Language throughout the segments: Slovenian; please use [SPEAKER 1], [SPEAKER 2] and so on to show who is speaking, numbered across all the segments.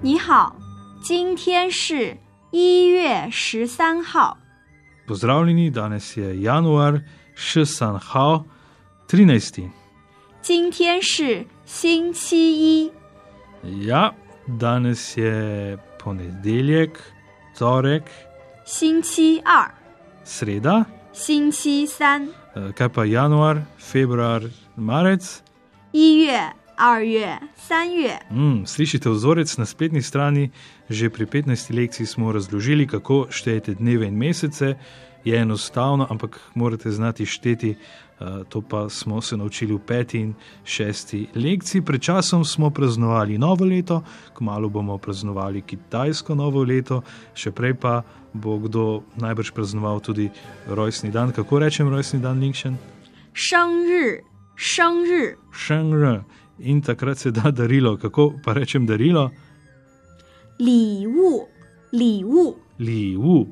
[SPEAKER 1] 你好，今天是一月十三号。
[SPEAKER 2] Pozdravljeni, danes je januar 16. 13.
[SPEAKER 1] 今天是星期一。
[SPEAKER 2] Ja, danes je ponedeljek, torek,
[SPEAKER 1] 星期二、
[SPEAKER 2] sreda,
[SPEAKER 1] 星期三，
[SPEAKER 2] eh, kaj pa januar, februar, marec.
[SPEAKER 1] 一月、二月、三月。
[SPEAKER 2] Mm, slišite vzorec na spletni strani, že pri 15 lekciji smo razložili, kako štejete dneve in mesece. Je enostavno, ampak morate znati šteti. eh, To pa smo se naučili v peti in šesti lekciji. Pred časom smo praznovali novo leto, kmalo bomo praznovali kitajsko novo leto, še prej pa bo kdo najbrž praznoval tudi rojstni dan. Kako rečem rojstni dan, Linkšen?
[SPEAKER 1] 生日，生日，
[SPEAKER 2] Šengr. In takrat se da darilo, kako pa rečem darilo?
[SPEAKER 1] 礼物，礼物，
[SPEAKER 2] 礼物，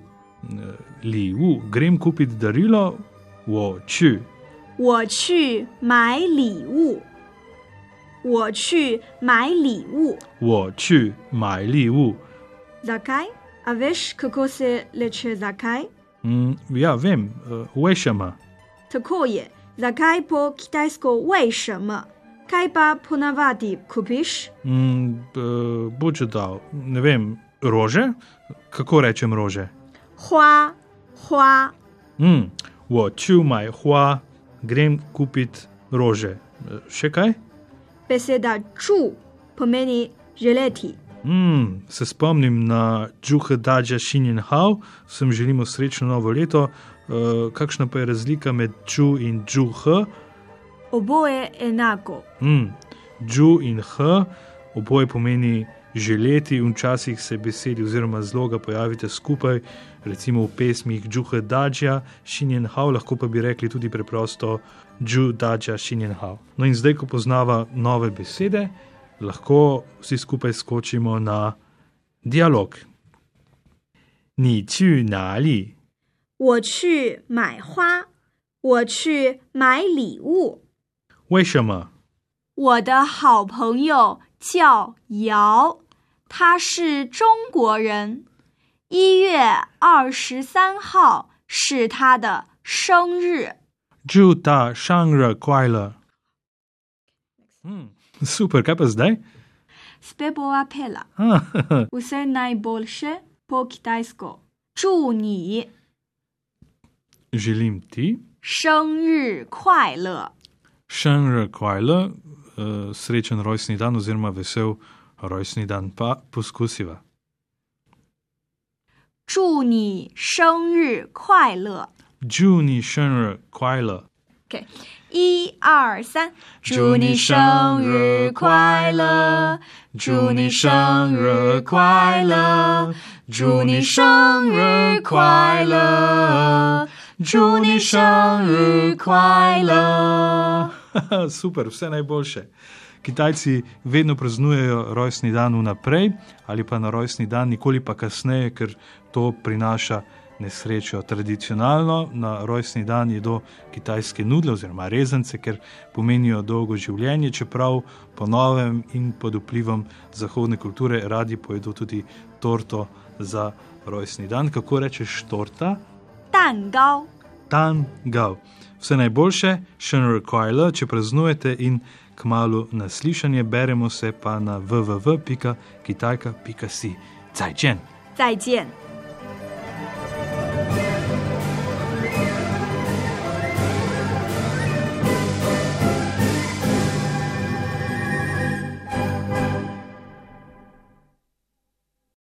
[SPEAKER 2] 呃礼物，grem kupit darilo，我去，
[SPEAKER 1] 我去买礼物。我去买礼物。
[SPEAKER 2] 我去买礼物。
[SPEAKER 1] Zakaj? A veš, kako se reče zakaj?
[SPEAKER 2] Mm, ja, vem, uh, vešama.
[SPEAKER 1] Tako je. Zakaj po kitajsko 为什么？Kaj pa ponavadi kupiš?
[SPEAKER 2] Mm, uh, Boče dal, ne vem, rože? Kako rečem rože?
[SPEAKER 1] 花，花，
[SPEAKER 2] Mm, 我去买花，grem kupit rože. Uh, še kaj?
[SPEAKER 1] beseda ču pomeni želeti.
[SPEAKER 2] Mm, se spomnim na Džuha Daja Šinjenhau, vsem želimo srečno novo leto. Uh, kakšna pa je razlika med Džu in Džuha?
[SPEAKER 1] Oboje enako.
[SPEAKER 2] Mm. Džu in H, oboje pomeni želeti, in včasih se besedi oziroma zloga pojavite skupaj, recimo v pesmih Džuha Daja, Šinjen Hao, lahko pa bi rekli tudi preprosto Džu Daja Šinjen Hao. No in zdaj, ko poznava nove besede, lahko vsi skupaj skočimo na dialog. 你去哪里？
[SPEAKER 1] 我去买花，我去买礼物。
[SPEAKER 2] 为什么？
[SPEAKER 1] 我的好朋友叫姚，他是中国人。一月二十三号是他的生日。
[SPEAKER 2] 祝他生日快乐。嗯，super, Hmm. kaj pa zdaj?
[SPEAKER 1] s p e b o a p e l a
[SPEAKER 2] Ah,
[SPEAKER 1] vse najboljše po kitajsko。祝你
[SPEAKER 2] želim ti
[SPEAKER 1] 生日快乐！
[SPEAKER 2] šenr kvajla, eh, srečen rojstni dan oziroma vesel rojstni dan, pa poskusiva.
[SPEAKER 1] 祝你生日快乐！
[SPEAKER 2] Juni šenr kvajla.
[SPEAKER 1] OK，一二三，
[SPEAKER 2] 祝你生日快乐，祝你生日快乐，祝你生日快乐，祝你生日快乐。Super, vse najboljše. Kitajci vedno praznujejo rojstni dan vnaprej ali pa na rojstni dan, nikoli pa kasneje, ker to prinaša nesrečo. Tradicionalno na rojstni dan jedo kitajske nudle oziroma rezance, ker pomenijo dolgo življenje, čeprav po novem in pod vplivom zahodne kulture radi pojedo tudi torto za rojstni dan. Kako rečeš torta?
[SPEAKER 1] 蛋糕。
[SPEAKER 2] Tan Gao. Vse najboljše, Shenry Kyle, če praznujete in kmalo naslišanje, beremo se pa na www.kitajka.si. Zajčen!
[SPEAKER 1] 再见。